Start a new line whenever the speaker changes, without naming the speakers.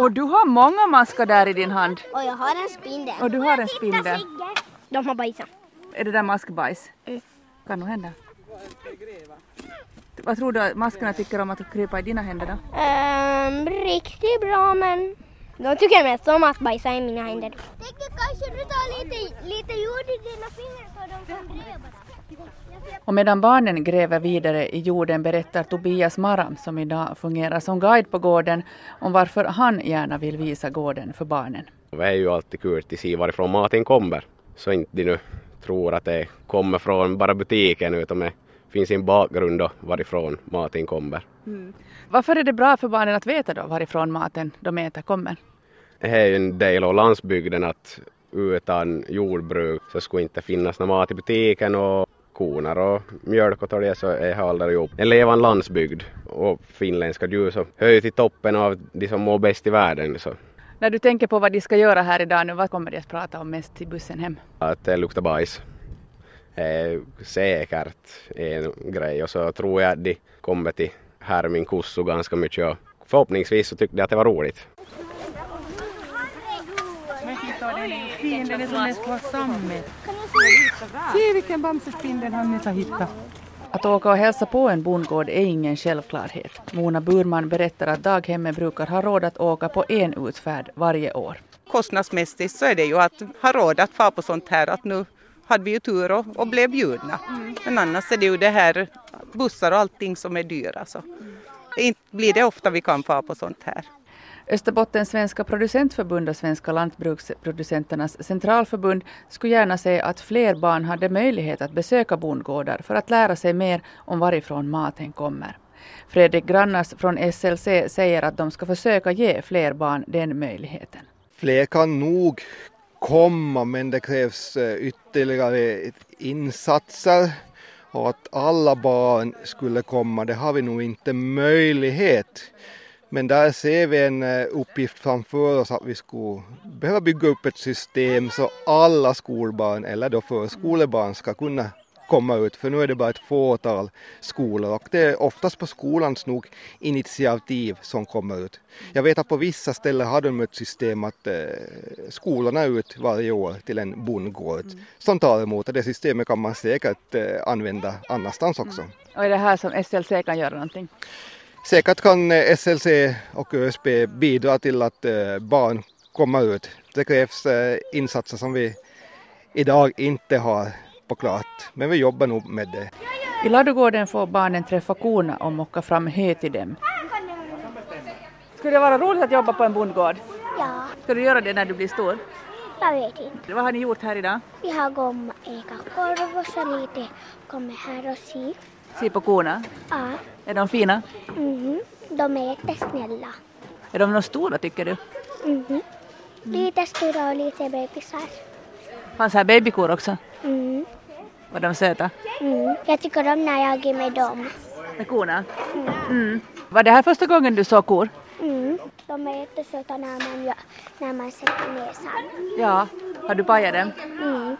Och du har många maskar där i din hand.
Och jag har en spindel.
Och du har en spindel.
De har bajsat.
Är det där maskbajs?
Mm.
Kan nog hända. Vad tror du att maskarna tycker om att krypa i dina händer då?
Ehm, riktigt bra men de tycker mest om att bajsa i mina händer.
Tänkte kanske du tar lite, lite jord i dina fingrar så de kan gräva.
Och medan barnen gräver vidare i jorden berättar Tobias Maram, som idag fungerar som guide på gården, om varför han gärna vill visa gården för barnen.
Och Det är ju alltid kul att se varifrån maten kommer. Så inte de nu tror att det kommer från bara butiken utan det finns en bakgrund och varifrån maten kommer.
Varför är det bra för barnen att veta då varifrån maten de äter kommer?
Det här är ju en del av landsbygden att utan jordbruk så skulle inte finnas någon mat i butiken och koner och mjölk och det så är här aldrig ihop. En levande landsbygd och finländska djur så hör ju till toppen av de som mår bäst i världen. Så
När du tänker på vad de ska göra här idag nu, vad kommer de att prata om mest i bussen hem?
Att det luktar bajs. Eh, säkert en grej och så tror jag att de kommer till Härmin Kussu ganska mycket och förhoppningsvis så tyckte de att det var roligt.
Den är som en skål sammet. Se vilken bamsespindel Hannes har hittat.
Att åka och hälsa på en bondgård är ingen självklarhet. Mona Burman berättar att daghemmen brukar ha råd att åka på en utfärd varje år.
kostnadsmässigt så är det ju att ha råd att vara på sånt här att nu hade vi ju tur och, och blev bjudna. Men annars är det ju det här bussar och allting som är dyra så. Inte blir det ofta vi kan vara på sånt här.
Österbottens svenska producentförbund och Svenska lantbruksproducenternas centralförbund skulle gärna se att fler barn hade möjlighet att besöka bondgårdar för att lära sig mer om varifrån maten kommer. Fredrik Grannas från SLC säger att de ska försöka ge fler barn den möjligheten.
Fler kan nog komma men det krävs eh, ytterligare insatser och att alla barn skulle komma det har vi nog inte möjlighet. Men där ser vi en eh, uppgift framför oss att vi skulle behöva bygga upp ett system så alla skolbarn eller då förskolebarn ska kunna komma ut för nu är det bara ett fåtal skolor och det är oftast på skolans nog initiativ som kommer ut. Jag vet att på vissa ställen har de ett system att eh, skolorna är ut varje år till en bondgård som tar emot och det systemet kan man säkert eh, använda annanstans också.
Och är det här som SLC kan göra någonting?
Säkert kan eh, SLC och ÖSB bidra till att eh, barn kommer ut. Det krävs eh, insatser som vi idag inte har på klart, men vi jobbar nog med det.
I ladugården får barnen träffa korna och mocka fram hö till dem. Skulle det vara roligt att jobba på en bondgård?
Ja,
Ska du göra det när du blir stor?
jag vet inte.
Vad har ni gjort här idag?
Vi har gått och ätit korv och så lite kommer här och se.
Se på korna.
Ja,
Är de fina?
mhm. de är jättesnälla.
Är de några stora tycker du?
Mhm. Lite stora och lite bebisar.
Fanns här babykor också?
Mm.
Var de söta?
Mm. Jag tycker om när jag är med dem.
Med korna? Mm. Var det här första gången du såg kor?
Mm. De är jättesöta när man, gör- när man sätter näsan.
Ja. Har du pajat dem?
Mm.